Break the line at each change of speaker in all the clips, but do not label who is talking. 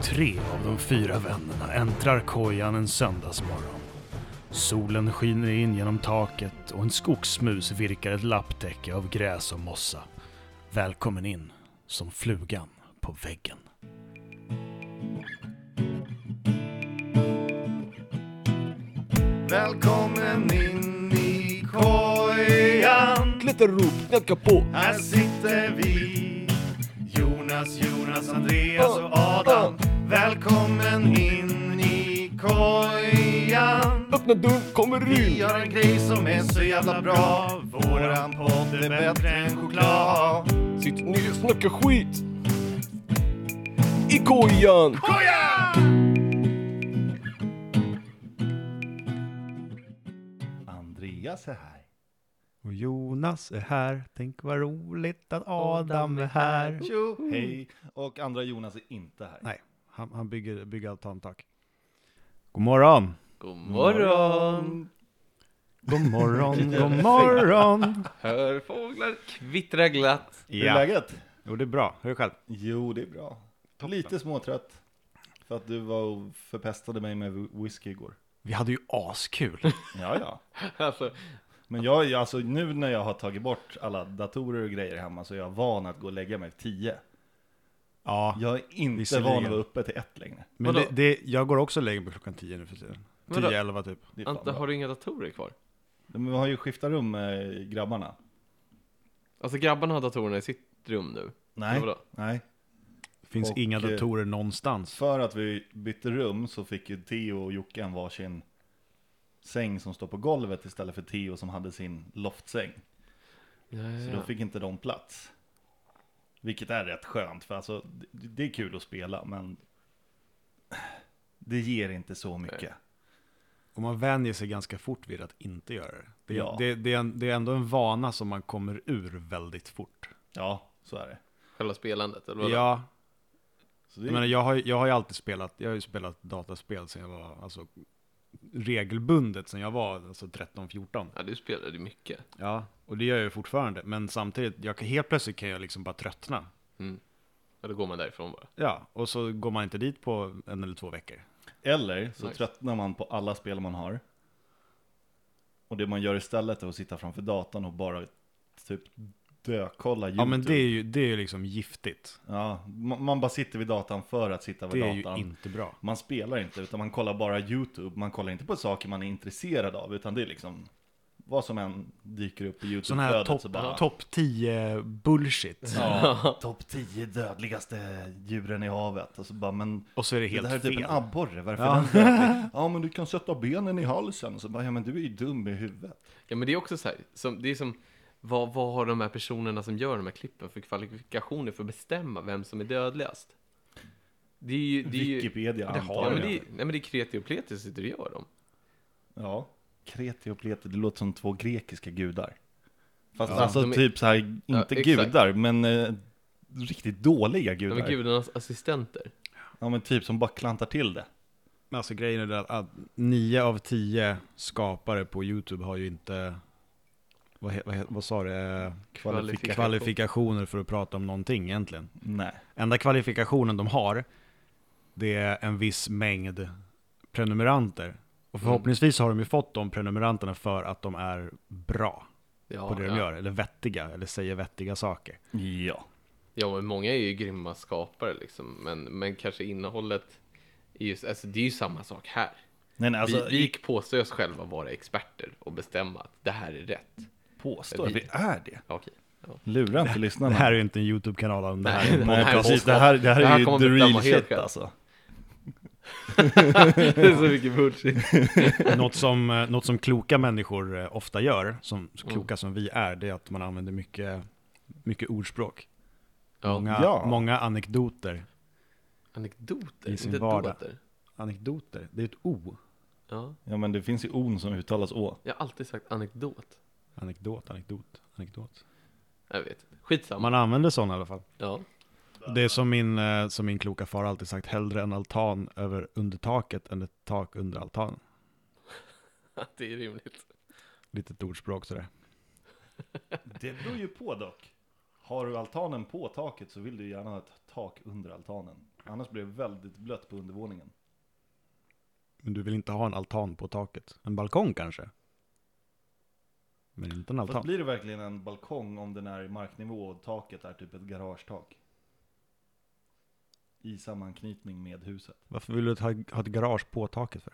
tre av de fyra vännerna äntrar kojan en söndagsmorgon. Solen skiner in genom taket och en skogsmus virkar ett lapptäcke av gräs och mossa. Välkommen in, som flugan på väggen.
Välkommen in i kojan.
Lite rop, knacka på.
Här sitter vi. Jonas, Jonas, Andreas och Adam. Välkommen in i kojan.
Öppna dörren, kommer
Vi
in.
har en grej som är så jävla bra. Våran podd är bättre än choklad.
Sitt ner, snacka skit. I kojan.
Kojan! Andreas är här.
Och Jonas är här, tänk vad roligt att Adam är här.
Tjo, hej. Och andra Jonas är inte här.
Nej, han, han bygger, bygger altantak. God morgon!
God morgon!
God morgon, god morgon!
Hör fåglar kvittra glatt.
Hur är läget?
Jo, det är bra. Hur är det själv?
Jo, det är bra. Lite småtrött. För att du var och förpestade mig med whisky igår.
Vi hade ju askul.
Ja, ja.
Alltså,
Men jag, är- alltså, nu när jag har tagit bort alla datorer och grejer hemma så är jag van att gå och lägga mig tio.
Ja,
Jag är inte
Visserligen.
van att vara uppe till ett längre.
men
Vadå?
det, det, jag går också och lägger mig klockan 10 nu för tiden.
Vadå?
10-11 typ.
Det är fan
Ante,
bra.
har du inga datorer kvar?
Men vi har ju skiftat rum med grabbarna.
Alltså grabbarna har datorerna i sitt rum nu.
Nej,
Eller vadå?
nej.
Det finns
Och,
inga
eh,
datorer någonstans.
För att vi bytte rum så fick ju Theo och Jocke en varsin säng som står på golvet istället för Theo som hade sin loftsäng.
Ja, ja,
Så
ja.
då fick inte de plats. Vilket är rätt skönt, för alltså, det, det är kul att spela, men det ger inte så mycket.
Och man vänjer sig ganska fort vid att inte göra det. Det,
Ja.
det, det, är, en, det är ändå en vana som man kommer ur väldigt fort.
Ja, så är det.
Själva spelandet, eller vadå?
Ja,
Så
Jag
det
menar, jag har, ju- jag har ju alltid spelat, jag har ju spelat dataspel sen jag var, alltså regelbundet sen jag var alltså 13-14.
ja du spelade ju mycket.
Ja. Och det gör jag ju fortfarande, men samtidigt, jag, kan- helt plötsligt kan jag liksom bara tröttna.
Mm. Ja, då går man därifrån bara.
Ja, och så går man inte dit på en eller två veckor.
Eller så
Nice.
tröttnar man på alla spel man har. Och det man gör istället är att sitta framför datorn och bara typ dökolla YouTube.
Ja, men det är ju, det är ju liksom giftigt.
Ja, man, man bara sitter vid datorn för att sitta
Det
vid
är ju
datorn.
inte bra.
Man spelar inte, utan man kollar bara YouTube. Man kollar inte på saker man är intresserad av, utan det är liksom vad som än dyker upp i
Sån här
YouTube-flödet.
topp
så bara-
topp 10 bullshit.
Ja, topp 10 dödligaste djuren i havet. Och så bara, men
Och så är det helt
det här är typ
fel.
en abborre, varför är den dödlig? Ja, men du kan sätta benen i halsen. Och så bara, ja men du är ju dum i huvudet.
Ja, men det är också så här, som, det är som, vad, vad har de här personerna som gör de här klippen för kvalifikationer för att bestämma vem som är dödligast? Det är ju... Det är ju
Wikipedia
det har ja,
antar
men
jag.
det är, Nej, men det är kreti och pleti som sitter och gör dem.
Ja, kreti och pleti, det låter som två grekiska gudar. Fast
Ja,
alltså
de är-
typ så här, inte
Ja, exakt.
gudar, men eh, riktigt dåliga
Ja,
gudar.
men gudarnas assistenter.
Ja, men typ som bara klantar till det.
Men Alltså grejen är det att, att 9 av 10 skapare på YouTube har ju inte, vad, he- vad, he- vad sa det?
Kvalifikation.
kvalifikationer för att prata om någonting egentligen.
Nej.
Enda kvalifikationen de har, det är en viss mängd prenumeranter.
Mm.
Och förhoppningsvis har de ju fått de prenumeranterna för att de är bra
Ja,
på det
ja.
de gör, eller vettiga, eller säger vettiga saker.
Ja.
Ja, men många är ju grymma skapare liksom, men, men kanske innehållet är just, alltså det är ju samma sak här.
Nej, nej, alltså,
vi, vi påstår oss själva vara experter och bestämma att det här är rätt.
påstår
vi-
vi är det.
Ja, Okej. Ja.
Lura inte lyssnarna.
Det här är ju inte en YouTube-kanal om det här.
Nej,
Nej,
här är
precis. Det
påstående.
här, det här är
Det här
ju
kommer
the
vi bestämma
real
helt
shit
själv.
alltså.
Det är så mycket bullshit.
Något som, eh, något som kloka människor eh, ofta gör, som
Mm.
så kloka som vi är, det är att man använder mycket, mycket ordspråk.
Ja.
Många,
Ja.
många anekdoter.
Anekdoter,
I sin
inte
vardag.
dåter.
Anekdoter? Det är ett O.
Ja.
Ja, men det finns ju on som uttalas å.
Jag har alltid sagt anekdot.
Anekdot, anekdot, anekdot.
Jag vet inte. Skitsamma.
Man använder sådana i alla fall.
Ja.
Det är som min, eh, som min kloka far alltid sagt, hellre en altan över under taket än ett tak under altanen.
Det är rimligt.
Litet ordspråk sådär.
Det beror ju på dock. Har du altanen på taket så vill du gärna ha ett tak under altanen. Annars blir det väldigt blött på undervåningen.
Men du vill inte ha en altan på taket? En balkong kanske? Men inte en
Fast
altan.
blir det verkligen en balkong om den är i marknivå och taket är typ ett garagetak? I sammanknytning med huset.
Varför vill du ha, ha ett garage på taket för?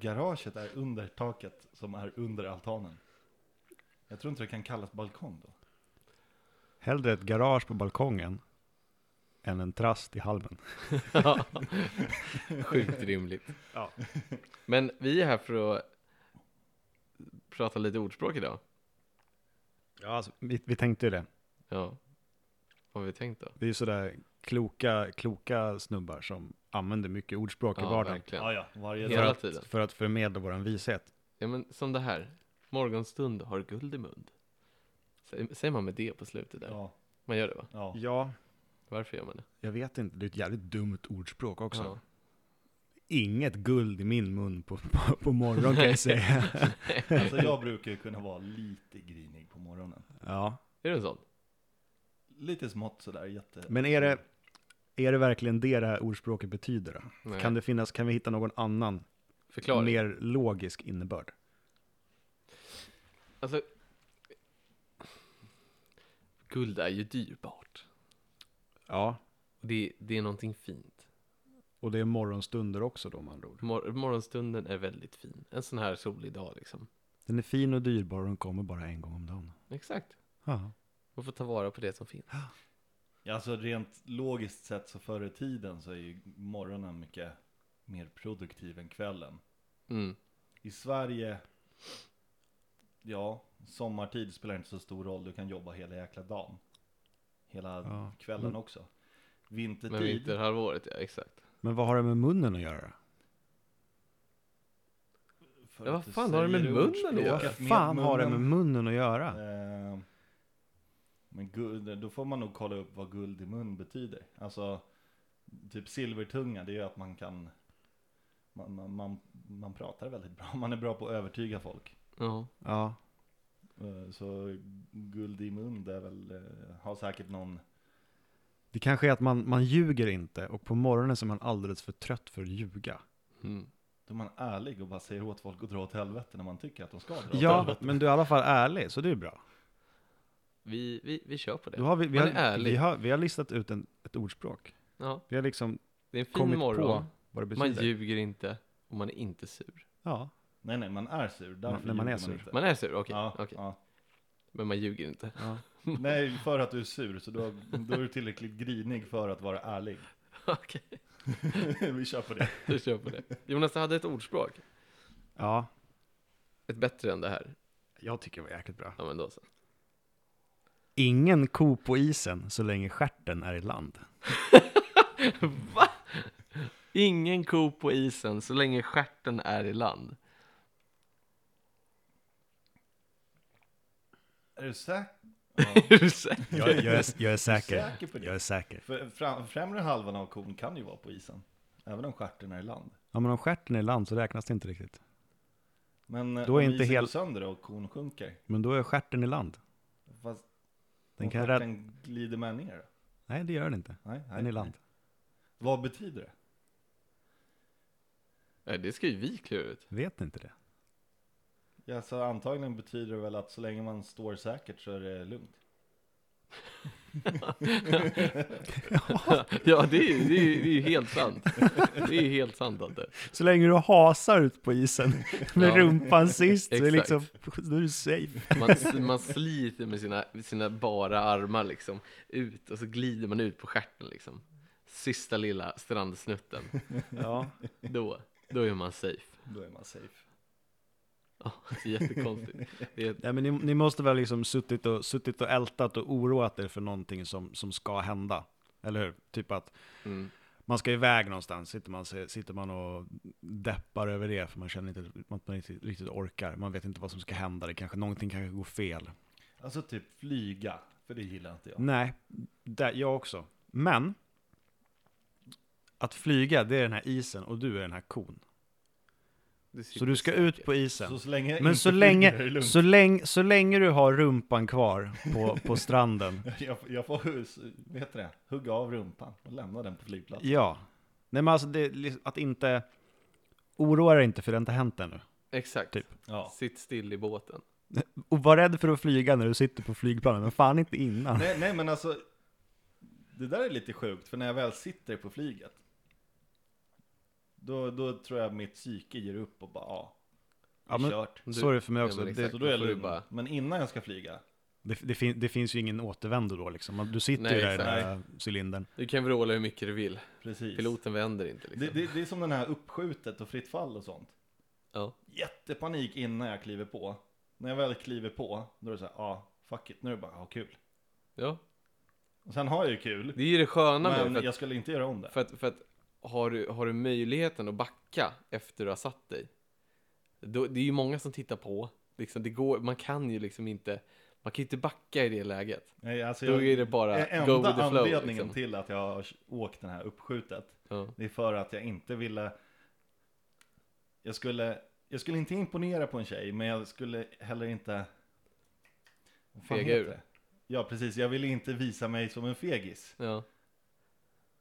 Garaget är under taket som är under altanen. Jag tror inte det kan kallas balkong då.
Hellre ett garage på balkongen än en trast i halmen.
Ja. Sjukt rimligt.
Ja.
Men vi är här för att prata lite ordspråk idag.
Ja, alltså, vi, vi tänkte ju det.
Ja. Vad har vi tänkt då?
Vi är ju sådär kloka, kloka snubbar som använder mycket ordspråk i
Ja,
vardagen.
verkligen.
Ja, Ah, ja, varje
Hela
dag.
För
tiden.
att, för att förmedla vår vishet.
Ja, men som det här. Morgonstund har guld i mun. Sä- Säger man med det på slutet där?
Ja,
Man gör det va?
ja.
Ja,
Varför gör man det?
jag vet inte. Det är ett jävligt dumt ordspråk också.
Ja.
Inget guld i min mun på, på, på morgonen kan jag säga.
Alltså jag brukar ju kunna vara lite grinig på morgonen.
Ja.
Är det en sån?
Lite smått sådär, jätte...
Men är det, är det verkligen det det här ordspråket betyder? Då?
Nej.
Kan det finnas, kan vi hitta någon annan,
Förklara.
mer logisk innebörd?
Alltså, guld är ju dyrbart.
Ja,
Och Det, det är någonting fint.
och det är morgonstunder också då man ord.
Mor- morgonstunden är väldigt fin. En sån här solig dag liksom.
Den är fin och dyrbar och den kommer bara en gång om dagen.
Exakt.
Ja.
Man får ta vara på det som finns.
Ja, Alltså rent logiskt sett så förr i tiden så är ju morgonen mycket mer produktiv än kvällen.
Mm.
I Sverige, ja, sommartid spelar inte så stor roll. Du kan jobba hela jäkla dagen. Hela
Ja.
kvällen också.
Men
Vintertid,
vinterhalvåret, ja exakt.
Men vad har det med munnen att göra?
för
Ja, vad
att du
fan har det med
säger
munnen
ordspråket
att göra?
Vad
med
fan har det med
munnen.
munnen att göra?
Eh, Men guld, då får man nog kolla upp vad guld i mun betyder. Alltså, typ silvertunga, det är ju att man kan, man, man, man, man pratar väldigt bra, man är bra på att övertyga folk.
Ja.
Ja,
Eh, Så guld i mun, det är väl, eh, har säkert någon,
det kanske är att man, man ljuger inte och på morgonen så är man alldeles för trött för att ljuga.
Mm.
då är man ärlig och bara säger åt folk att dra åt helvete när man tycker att de ska dra åt
Ja,
helvete.
men du är i alla fall ärlig, så det är bra.
Vi, vi, vi kör på det.
Då har vi, vi,
Man
har,
är ärlig.
vi, har, vi har listat ut en, ett ordspråk.
Ja.
Vi har liksom
Det är en fin
kommit
morgon.
på vad det
Man
betyder.
ljuger inte och man är inte sur.
ja,
Nej nej, man är sur, därför
när man är
ljuger
sur.
inte.
Man är sur, okej.
ja,
okej.
ja.
Men man ljuger inte.
ja.
Nej, för att du är sur, så då, då är du tillräckligt grinig för att vara ärlig.
okej,
Vi kör på det.
då kör vi på det. Jonas, du hade ett ordspråk.
ja,
Ett bättre än det här.
jag tycker det var jäkligt bra.
Ja, men då så.
Ingen ko på isen så länge stjärten är i land.
Ingen ko på isen så länge stjärten är i land.
Är du säker?
Är du säker?
Jag, jag, är, jag är säker.
Säker på det?
Jag är säker.
För fram, främre halvan av kon kan ju vara på isen, även om stjärten är i land.
Ja, men om stjärten är i land så räknas det inte riktigt.
Men eh,
Då är
om
inte
isen
hel-
går sönder och kon sjunker,
Men då är stjärten i land.
fast
Den
om
kan rädda...
stjärten glider med ner då?
Nej, det gör den inte.
Nej, nej.
Den är i land.
Vad betyder det?
Nej, det ska ju vi klura ut.
Vet ni inte det?
Ja, så antagligen betyder det väl att så länge man står säkert så är det lugnt.
Ja, det är ju det är, ju- det är ju helt sant. Det är ju helt sant, Ante.
Så länge du hasar ut på isen med
Ja.
rumpan sist, så är det liksom,
Exakt.
då är du safe.
Man, man sliter med sina, sina bara armar liksom ut och så glider man ut på stjärten liksom. Sista lilla strandsnutten.
Ja.
Då, då är man safe.
Då är man safe.
Ja, det är jättekonstigt. Det är,
Nej, men ni, ni måste väl liksom suttit och, suttit och ältat och oroat er för någonting som, som ska hända. Eller hur? Typ att
mm,
man ska iväg någonstans, sitter man, sitter man och deppar över det för man känner inte att man inte riktigt orkar. Man vet inte vad som ska hända, det kanske, någonting kanske går fel.
Alltså typ flyga, för det gillar inte jag.
Nej, där, jag också. Men, att flyga det är den här isen och du är den här kon.
Det
Så du ska
sitter
ut
säkert.
på isen.
Så, så länge
Men
inte
så
flyger
länge,
är det lugnt.
så, länge, så länge du har rumpan kvar på, på stranden.
Jag, jag får hus, vet du det, hugga av rumpan och lämna den på flygplatsen.
Ja. Nej men alltså, det, är liksom att inte... Oroa dig inte för det har inte hänt ännu.
Exakt.
Typ.
Ja.
Sitt still i båten.
Och var rädd för att flyga när du sitter på flygplanen, men fan inte innan.
Nej, nej men alltså, det där är lite sjukt, för när jag väl sitter på flyget, då, då tror jag mitt psyke ger upp och bara ja,
Ja,
det är
men,
kört.
Du-
så är det för mig
Ja,
också.
men
det,
exakt.
Så då är jag
då får du
lugn.
bara-
Men innan jag ska flyga,
det, det, fin, det finns ju ingen återvändo då liksom. Man- Du sitter
Nej,
ju där i den
exakt.
här cylindern.
Du kan vråla hur mycket du vill.
precis.
Piloten vänder inte liksom.
Det, det, det är som den här uppskjutet och fritt fall och sånt.
Ja.
Jättepanik innan jag kliver på. När jag väl kliver på, då är det så här, ja, ah, fuck it, nu är det bara, ha kul.
ja.
Och sen har jag ju kul,
Det är ju det sköna med det,
men
för
jag skulle inte göra om det.
att, för att, för att har, du, har du möjligheten att backa efter du har satt dig. Då, det är ju många som tittar på. Liksom, det går, man kan ju liksom inte, man kan ju inte backa i det läget.
Nej, alltså
Då
jag,
är det bara
enda
go with the flow.
anledningen
Liksom.
till att jag har åkt den här uppskjutet,
Ja.
det är för att jag inte ville, jag skulle, jag skulle inte imponera på en tjej, men jag skulle heller inte... vad fan
Fega
heter
ur.
det? Ja, precis. Jag ville inte visa mig som en fegis.
Ja.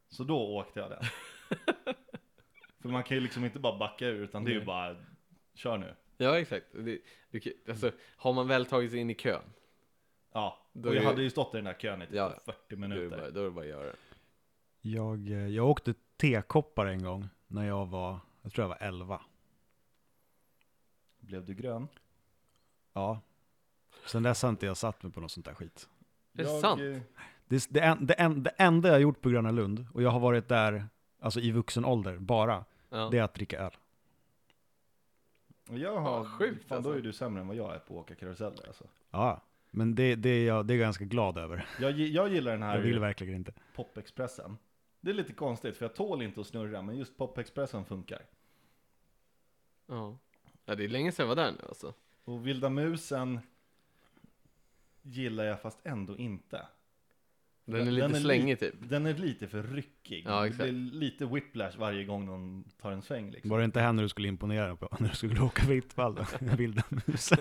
Så då åkte jag den. För man kan ju liksom inte bara backa ur, utan det är ju
Nej.
bara, kör nu.
ja, exakt. Det, du, kan- alltså, har man väl tagit sig in i kön,
Ja,
Då
och jag
är-
hade ju stått i den där kön i typ
Ja.
40
då är det
minuter.
bara, då är det bara att göra det.
Jag, eh, jag åkte tekoppar en gång när jag var, jag tror jag var 11.
Blev du grön?
Ja. Sen dess har inte jag satt mig på något sånt där skit.
Är det sant?
eh,
Det, det, en, det, en, det enda jag har gjort på Gröna Lund, och jag har varit där alltså i vuxen ålder bara,
Ja.
det är att dricka öl.
Jag har,
Ja, sjukt,
fan då är
alltså.
du sämre än vad jag är på att åka karuseller alltså.
Ja, men det, det, är jag, det är jag ganska glad över.
jag, gi- jag gillar den
Jag vill
här
verkligen inte.
popexpressen. Det är lite konstigt för jag tål inte att snurra men just popexpressen funkar.
Ja. ja, det är länge sedan jag var där nu alltså.
Och vilda musen gillar jag fast ändå inte.
Den är lite slängig typ.
Den är lite för ryckig.
Ja,
det
exakt.
blir lite whiplash varje gång någon tar en sväng liksom.
Var det inte här när du skulle imponera på, när du skulle åka fritt fall då? Vilda musen.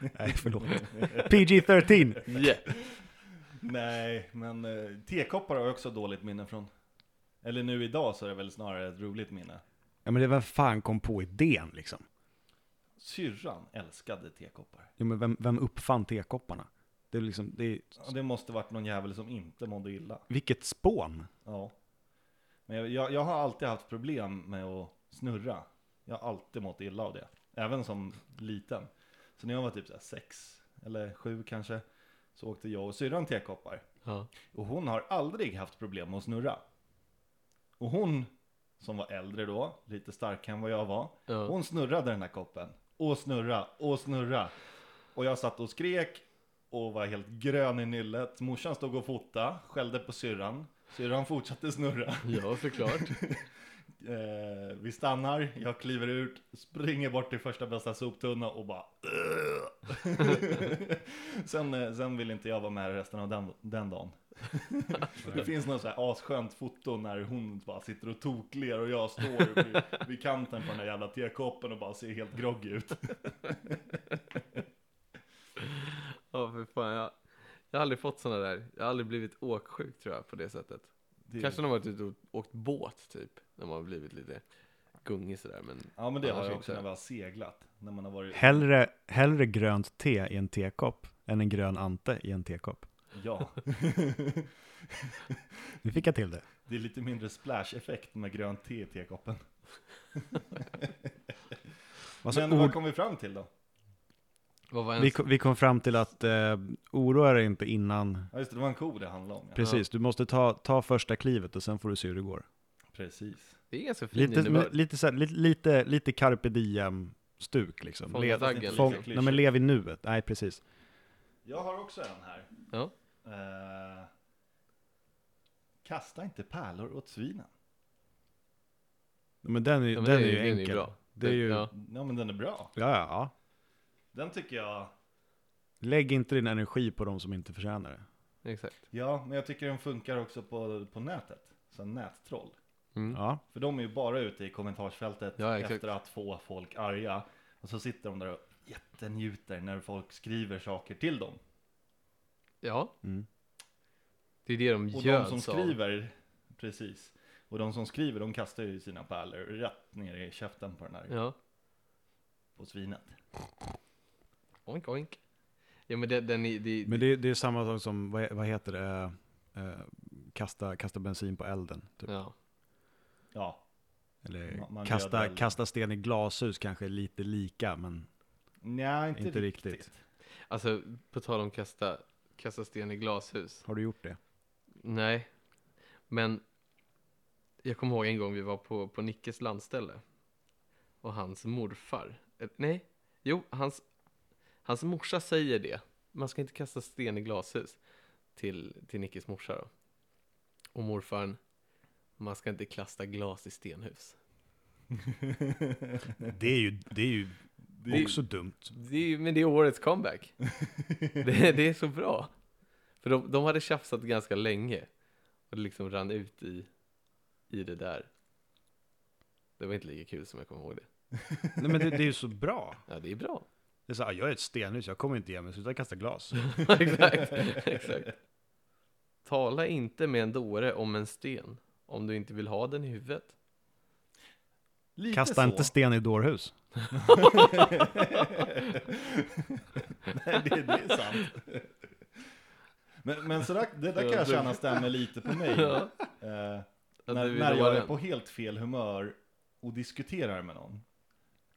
Nej, förlåt. PG-13!
Yeah.
Nej, men eh, tekoppar har jag också dåligt minne från. Eller nu idag så är det väl snarare ett roligt minne.
Ja men det, vem fan kom på idén liksom?
Syrran älskade tekoppar.
Jo men vem, vem uppfann tekopparna? Det är liksom, det är,
Ja, Det måste varit någon jävel som inte mådde illa.
vilket spån!
Ja. Men jag, jag, jag har alltid haft problem med att snurra. Jag har alltid mått illa av det. Även som liten. Så när jag var typ så här sex eller sju kanske. Så åkte jag och syrran tekoppar.
Ja.
Och hon har aldrig haft problem med att snurra. Och hon, som var äldre då, lite starkare än vad jag var.
Ja.
Hon snurrade den här koppen. Och snurra, och snurra. Och jag satt och skrek och var helt grön i nyllet. Morsan stod och fotade, skällde på syrran. Syrran fortsatte snurra.
ja, såklart.
Eh, vi stannar, jag kliver ut, springer bort till första bästa soptunna och bara sen, eh, sen vill inte jag vara med resten av den, den dagen. det finns något så här asskönt foto när hon bara sitter och tokler och jag står vid, vid kanten på den där jävla tekoppen och bara ser helt groggy ut.
Ja, för fan. Jag, jag har aldrig fått såna där. Jag har aldrig blivit åksjuk tror jag på det sättet.
Det,
Kanske när man varit ute och åkt båt typ. När man har blivit lite gungig sådär. Men
Ja men det har
Annars
jag
inte.
också när vi har seglat. När man har varit,
Hellre, hellre grönt te i en tekopp än en grön ante i en tekopp.
ja,
Nu fick jag till det.
det är lite mindre splash-effekt med grönt te i tekoppen.
Alltså,
men
ord,
vad kom vi fram till då?
vad var
vi,
ens...
kom, vi kom fram till att eh, oroa dig inte innan.
Ja just det, det var en ko det handlade om. Ja.
Precis, du måste ta, ta första klivet och sen får du se hur det går.
Precis.
Det är ganska fin
Lite,
innebörd.
lite, så här, lite, lite, lite carpe diem-stuk liksom.
Fånga
Le-
daggen,
fång-
liksom.
nej, men lev i nuet. Nej, precis.
Jag har också en här.
Ja.
Eh, kasta inte pärlor åt svinen.
Men den är,
Ja, men
den
det
är ju
den
enkel.
bra.
Det är ju, ja.
Ja.
Ja men den är bra.
Ja, ja.
Den tycker jag.
Lägg inte din energi på de som inte förtjänar det.
Exakt.
Ja men jag tycker den funkar också på, på nätet. Så nättroll.
Mm.
Ja.
För de är ju bara ute i kommentarsfältet
Ja, exakt.
efter att få folk arga. Och så sitter de där och jättenjuter när folk skriver saker till dem.
Ja.
Mm.
Det är det de
Och
gör.
de som skriver, precis. Och de som skriver, de kastar ju sina pärlor rätt ner i käften på den här,
Ja.
på svinet.
Oink, oink. Ja, men det, den är... Det,
Men det, är- det är samma sak som, vad, he- vad heter det, eh, kasta, kasta bensin på elden. Typ.
ja.
Ja,
Eller
Man- man dödar
kasta,
elden.
kasta sten i glashus kanske är lite lika, men
nej inte,
Inte
riktigt.
riktigt.
Alltså, på tal om kasta, kasta sten i glashus.
har du gjort det?
Nej, men jag kommer ihåg en gång vi var på, på Nickes landställe och hans morfar, eh, nej, jo, hans, hans morsa säger det. Man ska inte kasta sten i glashus till, till Nickes morsa då. Och morfaren, man ska inte klasta glas i stenhus.
Det är ju, det är ju
är-
också dumt.
Det är, ju- men det är årets comeback. Det, det är så bra. För de, de hade tjafsat ganska länge. Och det liksom rann ut i, i det där. Det var inte lika kul som jag kommer ihåg det.
Nej men det, det är ju så bra.
Ja, det är bra.
Det är så här, jag är ett stenhus, jag kommer inte ge mig, sluta kasta glas.
exakt, exakt. Tala inte med en dåre om en sten. Om du inte vill ha den i huvudet.
Lite så.
Kasta inte sten i dårhus.
Nej, det, det är sant. Men, men sådär, det där kan jag känna stämmer lite på mig.
Ja.
Eh,
Att
när,
du vill
när
ha
jag är
den.
på helt fel humör och diskuterar med någon.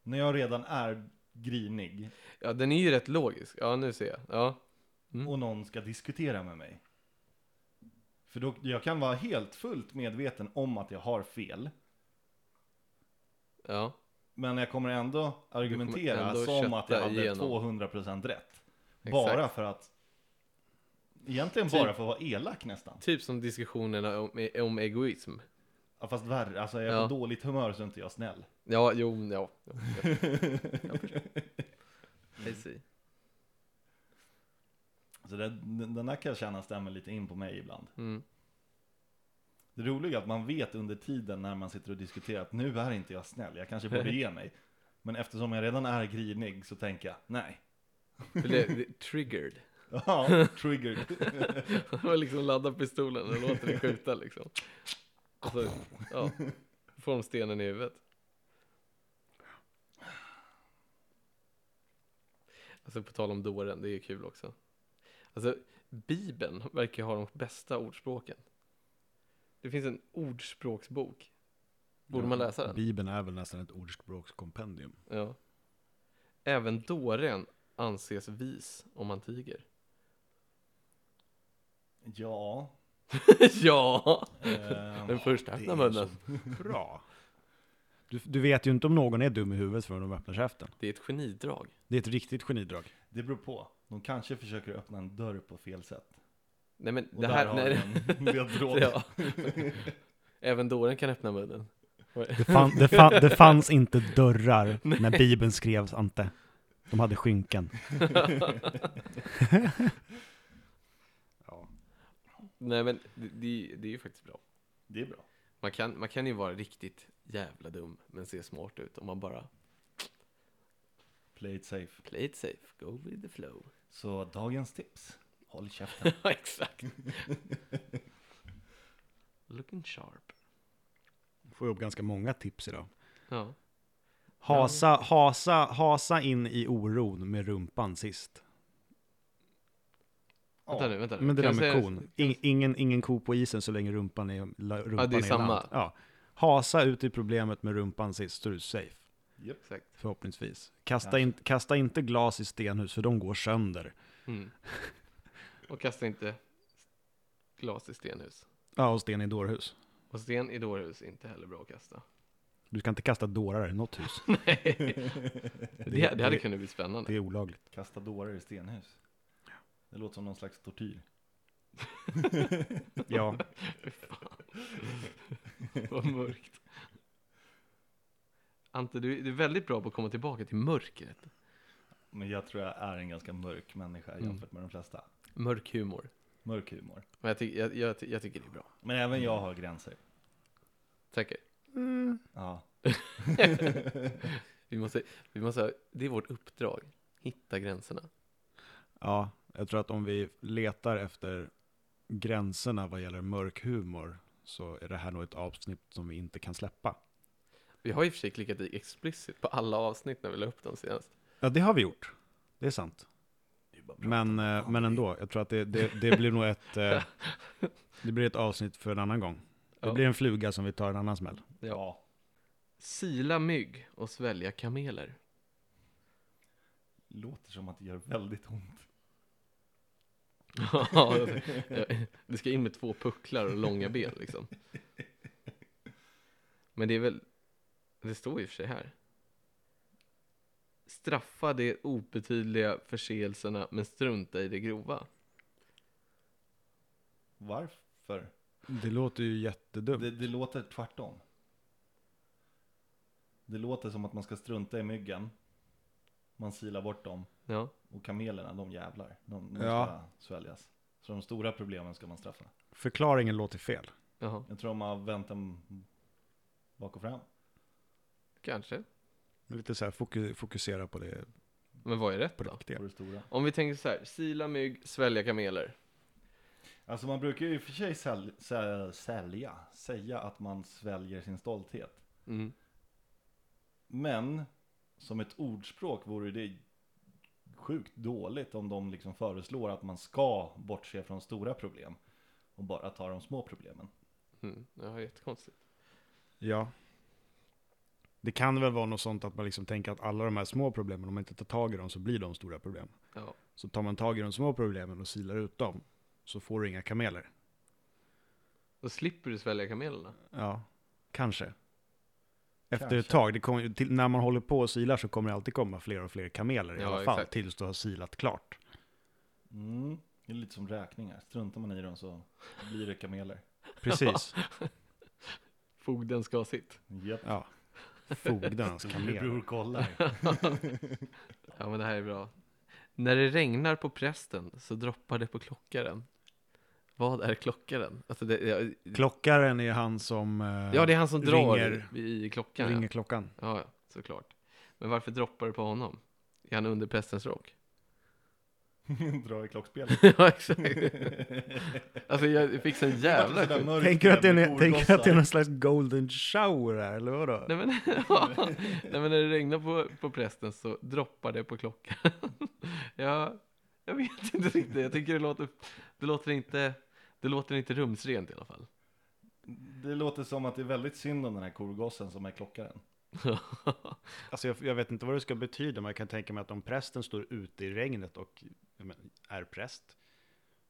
När jag redan är grinig
Ja, den är ju rätt logisk. Ja, nu ser jag. Ja, Mm.
och någon ska diskutera med mig. För då, jag kan vara helt fullt medveten om att jag har fel.
ja.
Men jag kommer ändå argumentera
ändå
som att jag
kötta
hade
igenom.
200% rätt. Bara för att... Egentligen
Typ.
bara för att vara elak nästan.
Typ som diskussionerna om, om egoism.
Ja, fast värre, alltså är jag
Ja.
på dåligt humör så är inte jag snäll.
Ja, jo, ja. Jag, jag förstår. I see.
Så det, den den där kan jag känna stämmer lite in på mig ibland.
Mm.
Det roliga är att man vet under tiden när man sitter och diskuterar att nu är inte jag snäll, jag kanske borde ge mig. Men eftersom jag redan är grinig så tänker jag, nej.
För det, det, triggered.
Ja, triggered.
Man liksom laddar pistolen och låter den skjuta liksom. Och så, ja, får de stenen i huvudet. Alltså på tal om dåren, det är ju kul också. Alltså, Bibeln verkar ha de bästa ordspråken. Det finns en ordspråksbok. Borde man läsa den?
Bibeln är väl nästan ett ordspråkskompendium.
Ja. Även dåren anses vis om man tiger.
Ja,
ja,
eh,
den första
det
öppnar
är
munnen.
Bra. Du, du vet ju inte om någon är dum i huvudet förrän de öppnar käften.
Det är ett genidrag.
Det är ett riktigt genidrag.
det beror på. De kanske försöker öppna en dörr på fel sätt.
Nej men
Och
det
där
här,
har
nej,
vi en ledtråd.
ja. Även dåren kan öppna munnen.
Det, fan, det, fan, det fanns inte dörrar när Bibeln skrevs, Ante. De hade skynken.
Nej men det, det, det är ju faktiskt bra.
Det är bra.
Man kan, man kan ju vara riktigt jävla dum men se smart ut om man bara
Play it safe.
play it safe, go with the flow.
Så dagens tips. Håll käften.
Exakt. Looking sharp.
Får upp ganska många tips idag.
Ja.
Hasa, hasa, hasa in i oron med rumpan sist.
Vänta nu, vänta nu.
Men det
Kan
där
jag
med
säga-
kon. In, ingen, ingen ko på isen så länge rumpan är, la- rumpan
det är
i
samma.
land. Ja. Hasa ut i problemet med rumpan sist så är du safe.
Exakt.
Förhoppningsvis. Kasta, in, kasta inte glas i stenhus för de går sönder.
Mm. Och kasta inte glas i stenhus.
Ja, och sten i dårhus.
Och sten i dårhus är inte heller bra att kasta.
Du ska inte kasta dårar i något hus.
Det, det hade kunnat bli spännande.
Det är olagligt.
Kasta dårar i stenhus. Det låter som någon slags tortyr.
Ja.
Vad mörkt. Ante, du, du är väldigt bra på att komma tillbaka till mörkret.
Men jag tror jag är en ganska mörk människa
Mm.
jämfört med de flesta.
Mörk humor.
Mörk humor.
Men jag, ty, jag, jag, ty- jag tycker det är bra.
Men även jag har gränser.
Säkert.
Ja.
Vi måste, vi måste, det är vårt uppdrag. Hitta gränserna.
Ja, jag tror att om vi letar efter gränserna vad gäller mörk humor så är det här nog ett avsnitt som vi inte kan släppa.
Vi har i och för sig klickat i explicit på alla avsnitt när vi la upp dem senast.
Ja, det har vi gjort. Det är sant. Men, eh, men ändå, jag tror att det, det, det blir nog ett, eh, det blir ett avsnitt för en annan gång. Det
Ja.
blir en fluga som vi tar en annan smäll.
ja.
Sila mygg och svälja kameler.
Låter som att det gör väldigt ont.
Ja, det ska in med två pucklar och långa ben liksom. Men det är väl, det står i och för sig här. Straffa de obetydliga förseelserna men strunta i det grova.
Varför?
Det låter ju jättedumt.
Det, det låter tvärtom. Det låter som att man ska strunta i myggen. Man silar bort dem.
Ja,
Och kamelerna, de jävlar. De, de
Ja.
ska sväljas. Så de stora problemen ska man straffa.
Förklaringen låter fel.
jaha,
Jag tror de har vänt dem bak och fram.
kanske.
Lite så här foku- fokusera på det
Men vad är rätt
på
då?
riktiga.
På det stora.
Om vi tänker så här, sila mygg, svälja kameler.
Alltså man brukar ju i och för sig säl- sä- sälja, säga att man sväljer sin stolthet.
Mm.
Men som ett ordspråk vore det sjukt dåligt om de liksom föreslår att man ska bortse från stora problem och bara ta de små problemen.
Mm. Ja, jättekonstigt.
Ja. Det kan väl vara något sånt att man liksom tänker att alla de här små problemen, om man inte tar tag i dem så blir de stora problem.
Ja.
Så tar man tag i de små problemen och silar ut dem så får du inga kameler.
Då slipper du svälja kamelerna.
Ja, kanske. Efter ett
Kanske.
tag, det kommer, ju- till, när man håller på och silar så kommer det alltid komma fler och fler kameler i
Ja,
alla fall,
exakt.
tills du har silat klart.
Mm. Det är lite som räkningar, struntar man i dem så blir det kameler.
Precis.
Fogden ska ha sitt.
Japp,
Ja. Fogdarnas alltså, kameler.
storebror kollar.
Ja, men det här är bra. När det regnar på prästen så droppar det på klockaren. Vad är klockaren? Alltså det, ja,
Klockaren är han som eh,
ja, det är han som drar
ringer-
i i klockan.
ringer
Ringer.
klockan.
Ja. ja, såklart. Men varför droppar det på honom? Är han under prästens rock?
Dra i klockspelet.
ja, exakt. Alltså jag fick en jävla
Sådär
skit.
mörkt
Tänker du att det
med
är, tänker du att det är
korgossar.
någon slags golden shower här, eller vadå?
Nej men, ja. Nej men när det regnar på, på prästen så droppar det på klockan. ja, jag vet inte riktigt. Jag tycker det låter, det låter inte, det låter inte rumsrent i alla fall.
Det låter som att det är väldigt synd om den här korgossen som är klockaren.
Alltså jag, jag vet inte vad det ska betyda, men jag kan tänka mig att om prästen står ute i regnet och ja, men, är präst,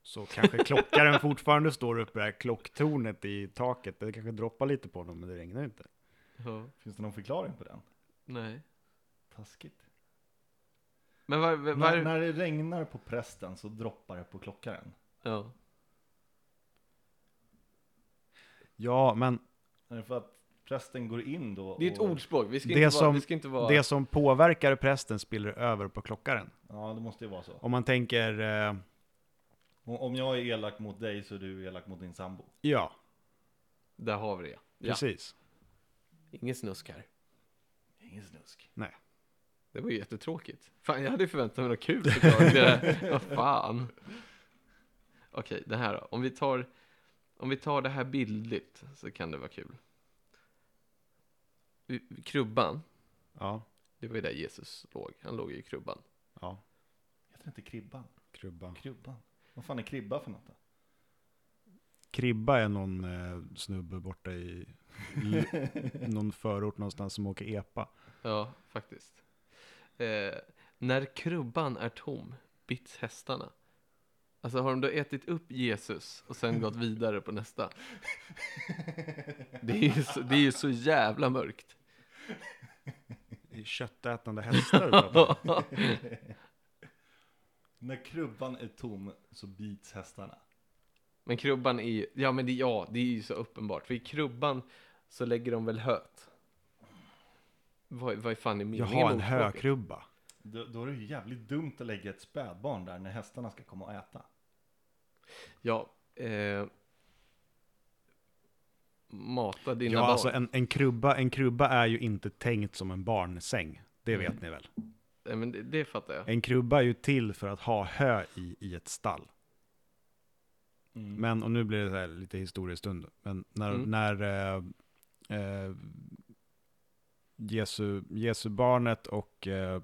så kanske klockaren fortfarande står uppe där, klocktornet i taket. Det kanske droppar lite på honom, men det regnar inte.
ja,
Finns det någon förklaring på den?
nej.
Taskigt.
Men var, var,
När, när det regnar på prästen så droppar det på klockaren.
ja.
Ja, men
Är det för att prästen går in då?
Det är ett
och-
ordspråk. Vi ska,
Det
inte, vara,
som-
vi ska inte vara...
det som påverkar prästen spiller över på klockaren.
Ja, det måste ju vara så.
Om man tänker, eh,
Om, om jag är elak mot dig så är du elak mot din sambo.
ja,
Där har vi det. Ja.
precis.
Ingen snusk här.
Ingen snusk.
Nej.
Det var ju jättetråkigt. Fan, jag hade ju förväntat mig något kul såklart. Det- Vad fan. Okej, det här då. Om vi, tar, om vi tar det här bildligt så kan det vara kul. Vi- Krubban,
Ja,
det var ju där Jesus låg. Han låg ju i krubban.
ja,
Heter det inte Kribban?
krubba.
Krubban? Vad fan är Kribba för något då?
Kribba är någon eh, snubbe borta i l- någon förort någonstans som åker epa.
Ja, faktiskt. Eh, när krubban är tom bits hästarna. Alltså har de då ätit upp Jesus och sen gått vidare på nästa? Det är ju så, det är ju så jävla mörkt.
I köttätande hästar du pratar om.
När krubban är tom så bits hästarna.
Men krubban är ju, ja men det, ja, det är ju så uppenbart. För i krubban så lägger de väl höet. Vad, vad fan är
Jag
meningen
har
med
en
ordspråket?
hökrubba.
Då, då är det ju jävligt dumt att lägga ett spädbarn där när hästarna ska komma och äta.
Ja. Eh, mata dina
Ja,
barn.
alltså en, en, krubba, en krubba är ju inte tänkt som en barnsäng. Det vet
Mm.
ni väl?
Nej, men det, det fattar jag.
En krubba är ju till för att ha hö i, i ett stall.
Mm.
Men, och nu blir det så här lite historiestund, men när,
Mm.
när eh, eh, Jesu, Jesu barnet och eh,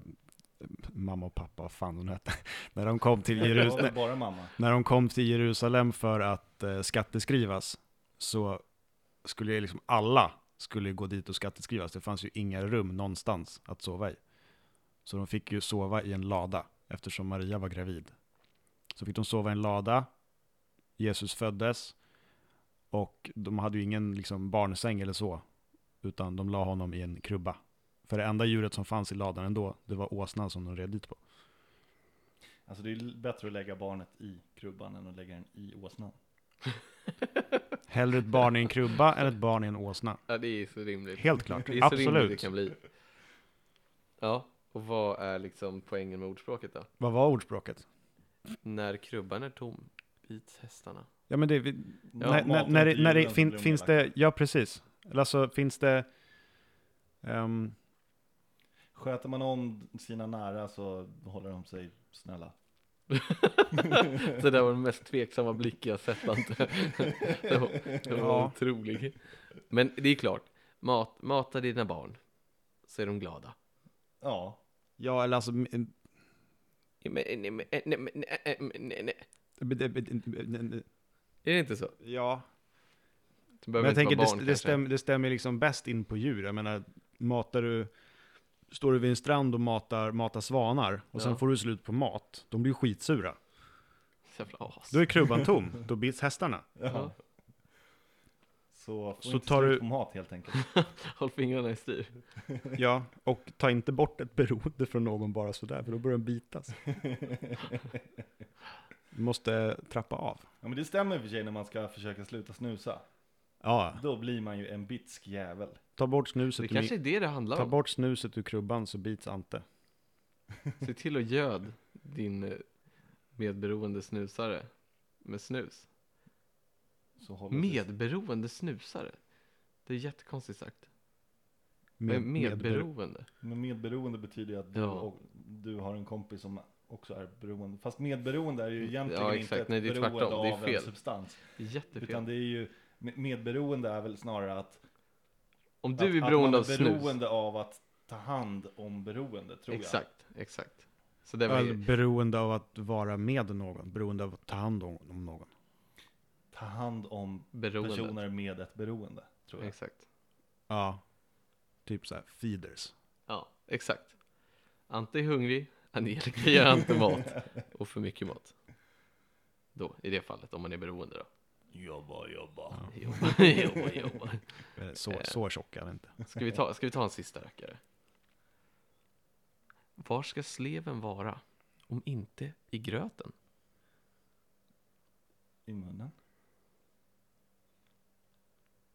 mamma och pappa, vad fan hon hette, när de kom till
Det var väl
Jerusalem,
bara mamma.
när de kom till Jerusalem för att eh, skatteskrivas så skulle ju liksom alla skulle ju gå dit och skatteskrivas. Det fanns ju inga rum någonstans att sova i. Så de fick ju sova i en lada eftersom Maria var gravid. Så fick de sova i en lada. Jesus föddes och de hade ju ingen liksom, barnsäng eller så utan de la honom i en krubba. För det enda djuret som fanns i ladan ändå, det var åsnan som de red dit på.
Alltså det är l- bättre att lägga barnet i krubban än att lägga den i åsnan.
Hellre ett barn i en krubba än ett barn i en åsna.
Ja, det är så rimligt.
Helt klart,
Det är så rimligt det
absolut.
kan bli. Ja, och vad är liksom poängen med ordspråket då?
Vad var ordspråket?
När krubban är tom, bit hästarna.
Ja men det, vi,
Ja,
när, när,
maten
när,
till
det- när det,
djuren
fin,
blir
finns
omodlad.
det, ja precis. Eller Alltså finns det, ehm,
Sköter man om sina nära så håller de sig snälla.
Det där var den mest tveksamma blick jag sett Ante. Det var, det var
Ja.
otrolig. Men det är klart, mat, mata dina barn så är de glada.
Ja,
ja eller alltså, m-
Ja, men- nej, men- nej, men- nej, men- nej, nej.
m-
Är det inte så?
ja.
Det
Men
behöver
jag
inte
tänker
vara barn
det, det,
kanske.
stäm, det stämmer liksom bäst in på djur. Jag menar, matar du, står du vid en strand och matar, matar svanar och sen
Ja.
får du slut på mat, de blir ju skitsura.
Jävla as.
Då är krubban tom, då bits hästarna.
Ja.
så får
Så
inte
tar
slut
du-
på mat helt enkelt.
Håll fingrarna i styr.
Ja, och ta inte bort ett beroende från någon bara sådär, för då börjar den bitas. Du måste trappa av.
Ja men det stämmer i och för sig när man ska försöka sluta snusa.
Ja,
Då blir man ju en bitsk jävel.
ta bort
Det
snuset, ur,
kanske är
min-
det det handlar
ta
om.
bort snuset ur krubban så bits Ante.
Se till att göd din eh, medberoende snusare med snus.
Så håller sig-
Medberoende snusare? Det är jättekonstigt sagt. Med,
medbero-
medberoende?
Men medberoende betyder ju att du,
Ja.
och, du har en kompis som också är beroende. Fast medberoende är ju egentligen
Mm. Ja,
inte
exakt.
ett
Nej, det är
beroende
tvärtom. Det är
av en
fel.
substans.
Det är
Utan
Jättefel.
det är ju, med- medberoende är väl snarare att
Om du är
att,
beroende av
att man är
snus.
beroende av att ta hand om beroende, tror
Exakt, exakt. Så det var
Eller
ju,
Alltså, beroende av att vara med någon, beroende av att ta hand om om någon.
jag. Ta hand om
Beroendet.
personer med ett beroende, tror jag.
exakt.
Ja, typ så här feeders.
Ja, exakt. Ante är hungrig, Angelica gör Ante mat. Och för mycket mat. Då, i det fallet, om man är beroende då.
Jobba, jobba.
Jobba, jobba, jobba.
Eller Eh, Så,
Eh.
så tjocka är vi inte.
Ska vi ta, ska vi ta en sista rackare? Var ska sleven vara om inte i gröten?
I munnen.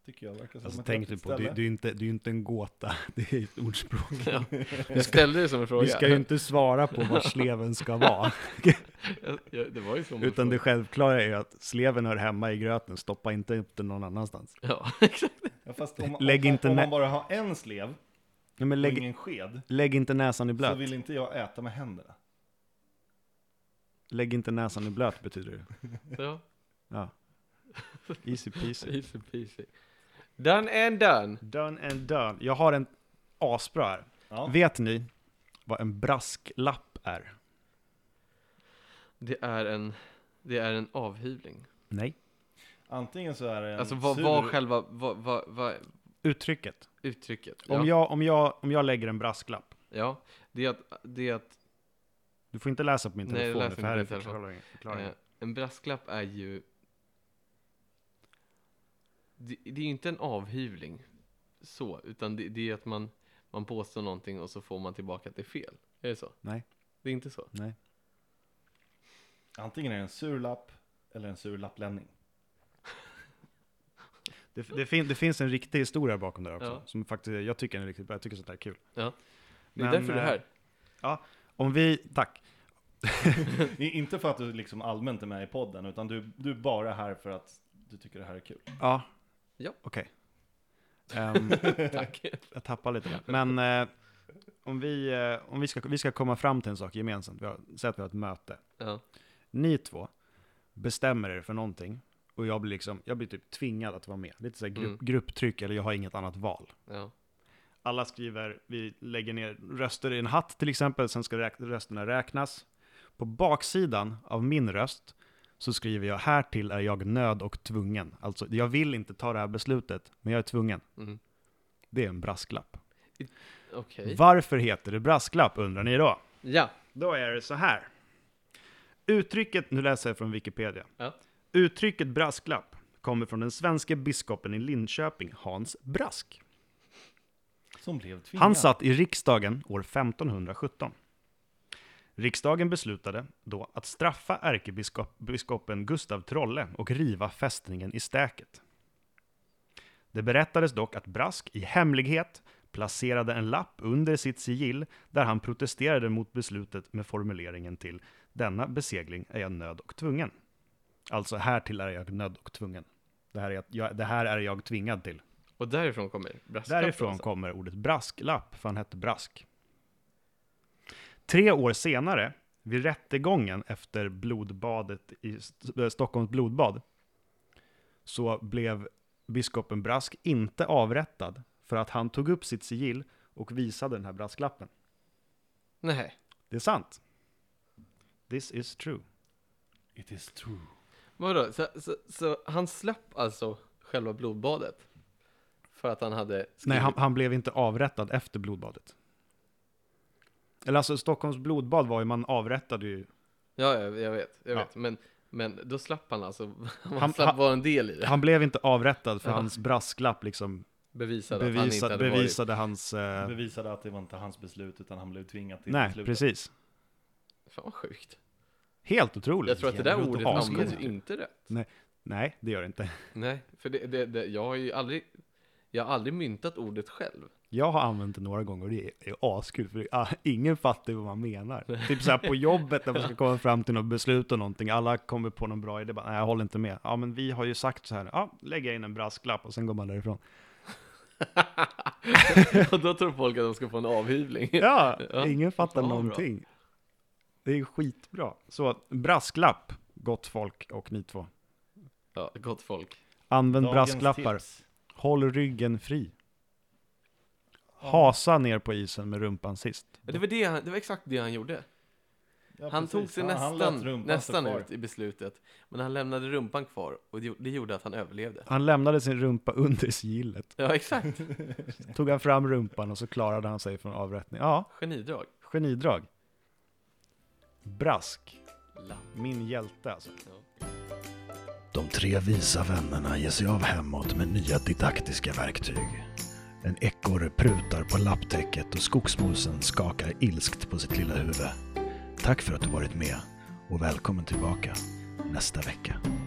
Tycker jag verkar som
Alltså,
ett
tänk du
vettigt
på, det, det,
ställe.
är ju inte, det är ju inte en gåta, det är ett ordspråk.
Ja. Jag ställde det som en fråga.
Vi ska ju inte svara på var sleven ska vara,
Jag- jag- Det var ju som en
utan det
fråga.
självklara är ju att sleven hör hemma i gröten, stoppa inte upp den någon annanstans.
Ja, exakt.
Ja, fast om,
Lägg
om,
inte
om
nä-
man bara har en slev
Nej, men
och
lägg,
ingen sked
lägg inte näsan i
så
blöt.
vill inte jag äta med händerna.
Lägg inte näsan i blöt betyder det.
Ja,
Ja. Easy peasy.
easy peasy. Done and done.
Done and done. Jag har en asbra här.
Ja.
Vet ni vad en brasklapp är?
Det är en, det är en avhyvling.
Nej.
Antingen så är det en
Alltså vad
sur...
var själva, vad, vad, vad
Uttrycket.
uttrycket?
Om,
Ja,
jag, om, jag, om jag lägger en brasklapp,
ja, det är att, det är att
du får inte läsa på min
Nej,
telefon,
jag läser
för här är
inte på min telefon.
förklaringen. förklaringen.
eh, en brasklapp är ju det, det är ju inte en avhyvling så, utan det, det är att man, man påstår någonting och så får man tillbaka att det är fel. Är det så?
Nej.
Det är inte så?
Nej.
Antingen är det en sur lapp eller en sur lapplänning.
Det, det, fin, det finns en riktig historia bakom det här också,
Ja.
som faktiskt, jag tycker är riktigt bra, jag tycker sånt här är kul.
Ja. Det är
Men, eh,
därför det här.
Om vi, tack,
I- inte för att du liksom allmänt är med i podden utan du, du är bara här för att du tycker det här är kul.
ja,
Ja.
okej. Ehm,
Tack.
jag tappar lite där. Men eh, om, vi, eh, om vi, ska, vi ska komma fram till en sak gemensamt, vi har, säg att vi har ett möte.
Ja.
Ni två bestämmer er för någonting och jag blir, liksom, jag blir typ tvingad att vara med. Lite så här grupp,
Mm.
grupptryck eller jag har inget annat val.
Ja.
Alla skriver, vi lägger ner röster i en hatt till exempel, sen ska räk- rösterna räknas. På baksidan av min röst så skriver jag härtill är jag nöd och tvungen. Alltså, jag vill inte ta det här beslutet, men jag är tvungen.
Mm.
Det är en brasklapp.
Okej.
Varför heter det brasklapp undrar ni då?
Ja.
Då är det så här. Uttrycket, nu läser jag från Wikipedia.
Ja.
Uttrycket brasklapp kommer från den svenska biskopen i Linköping, Hans Brask.
Som blev tvingad.
Han satt i riksdagen år 1517. Riksdagen beslutade då att straffa ärkebiskopen Gustav Trolle och riva fästningen i stäket. Det berättades dock att Brask i hemlighet placerade en lapp under sitt sigill där han protesterade mot beslutet med formuleringen till denna besegling är jag nödd och tvungen. Alltså härtill är jag nödd och tvungen. Det här är jag, jag, det här är jag tvingad till.
Och därifrån kommer brasklappen.
Därifrån
alltså.
kommer ordet brasklapp, för han hette Brask. Tre år senare, vid rättegången efter blodbadet i St- Stockholms blodbad, så blev biskopen Brask inte avrättad för att han tog upp sitt sigill och visade den här brasklappen.
Nej.
Det är sant. This is true.
It is true.
Vadå? Så, så, så han slapp alltså själva blodbadet? För att han hade skrivit...
Nej, han, han blev inte avrättad efter blodbadet. Eller alltså, Stockholms blodbad var ju, man avrättade ju
Ja, jag, jag vet. Jag
Ja.
vet. Men, men då slapp han alltså. Han,
Han-
slapp
han-
vara en del i det.
Han blev inte avrättad för
Ja.
hans brasklapp liksom
Bevisade att han inte
bevisa,
hade varit...
bevisade hans... eh,
Bevisade att det var inte hans beslut utan han blev tvingad till
nej,
beslutet.
precis.
Fan vad sjukt.
Helt otroligt.
Jag tror att det där
Jävligt
ordet
ascoolt.
används ju inte rätt.
Nej, det gör det inte.
Nej, för det, det, det, jag har ju aldrig... Jag har aldrig myntat ordet själv.
Jag har använt det några gånger och det är- är askul för det, ah, ingen fattar vad man menar. Typ så här på jobbet när man ska komma fram till något beslut och någonting, alla kommer på någon bra idé, bara, nej jag håller inte med. Ja men vi har ju sagt så här, ja lägger in en brasklapp och sen går man därifrån.
Och då tror folk att de ska få en avhyvling.
Ja,
Ja.
ingen fattar
Ja, bra.
någonting. Det är skitbra. Så brasklapp, gott folk och ni två.
Ja, gott folk.
Använd
Dagens
brasklappar.
tips.
Håll ryggen fri. Hasa ner på isen med rumpan sist.
Ja, Det var, det, han- det var exakt det han gjorde.
Ja,
han
precis.
tog sig
Han- han lät
nästan,
rumpan
nästan
stå kvar.
ut i beslutet, men han lämnade rumpan kvar och det gjo- det gjorde att han överlevde.
Han lämnade sin rumpa under sigillet.
Ja, exakt.
Tog han fram rumpan och så klarade han sig från avrättning. Ja,
Genidrag.
genidrag. Brask.
Lapp.
Min hjälte alltså.
De tre visa vännerna ger sig av hemåt med nya didaktiska verktyg. En ekorre prutar på lapptäcket och skogsmusen skakar ilskt på sitt lilla huvud. Tack för att du varit med och välkommen tillbaka nästa vecka.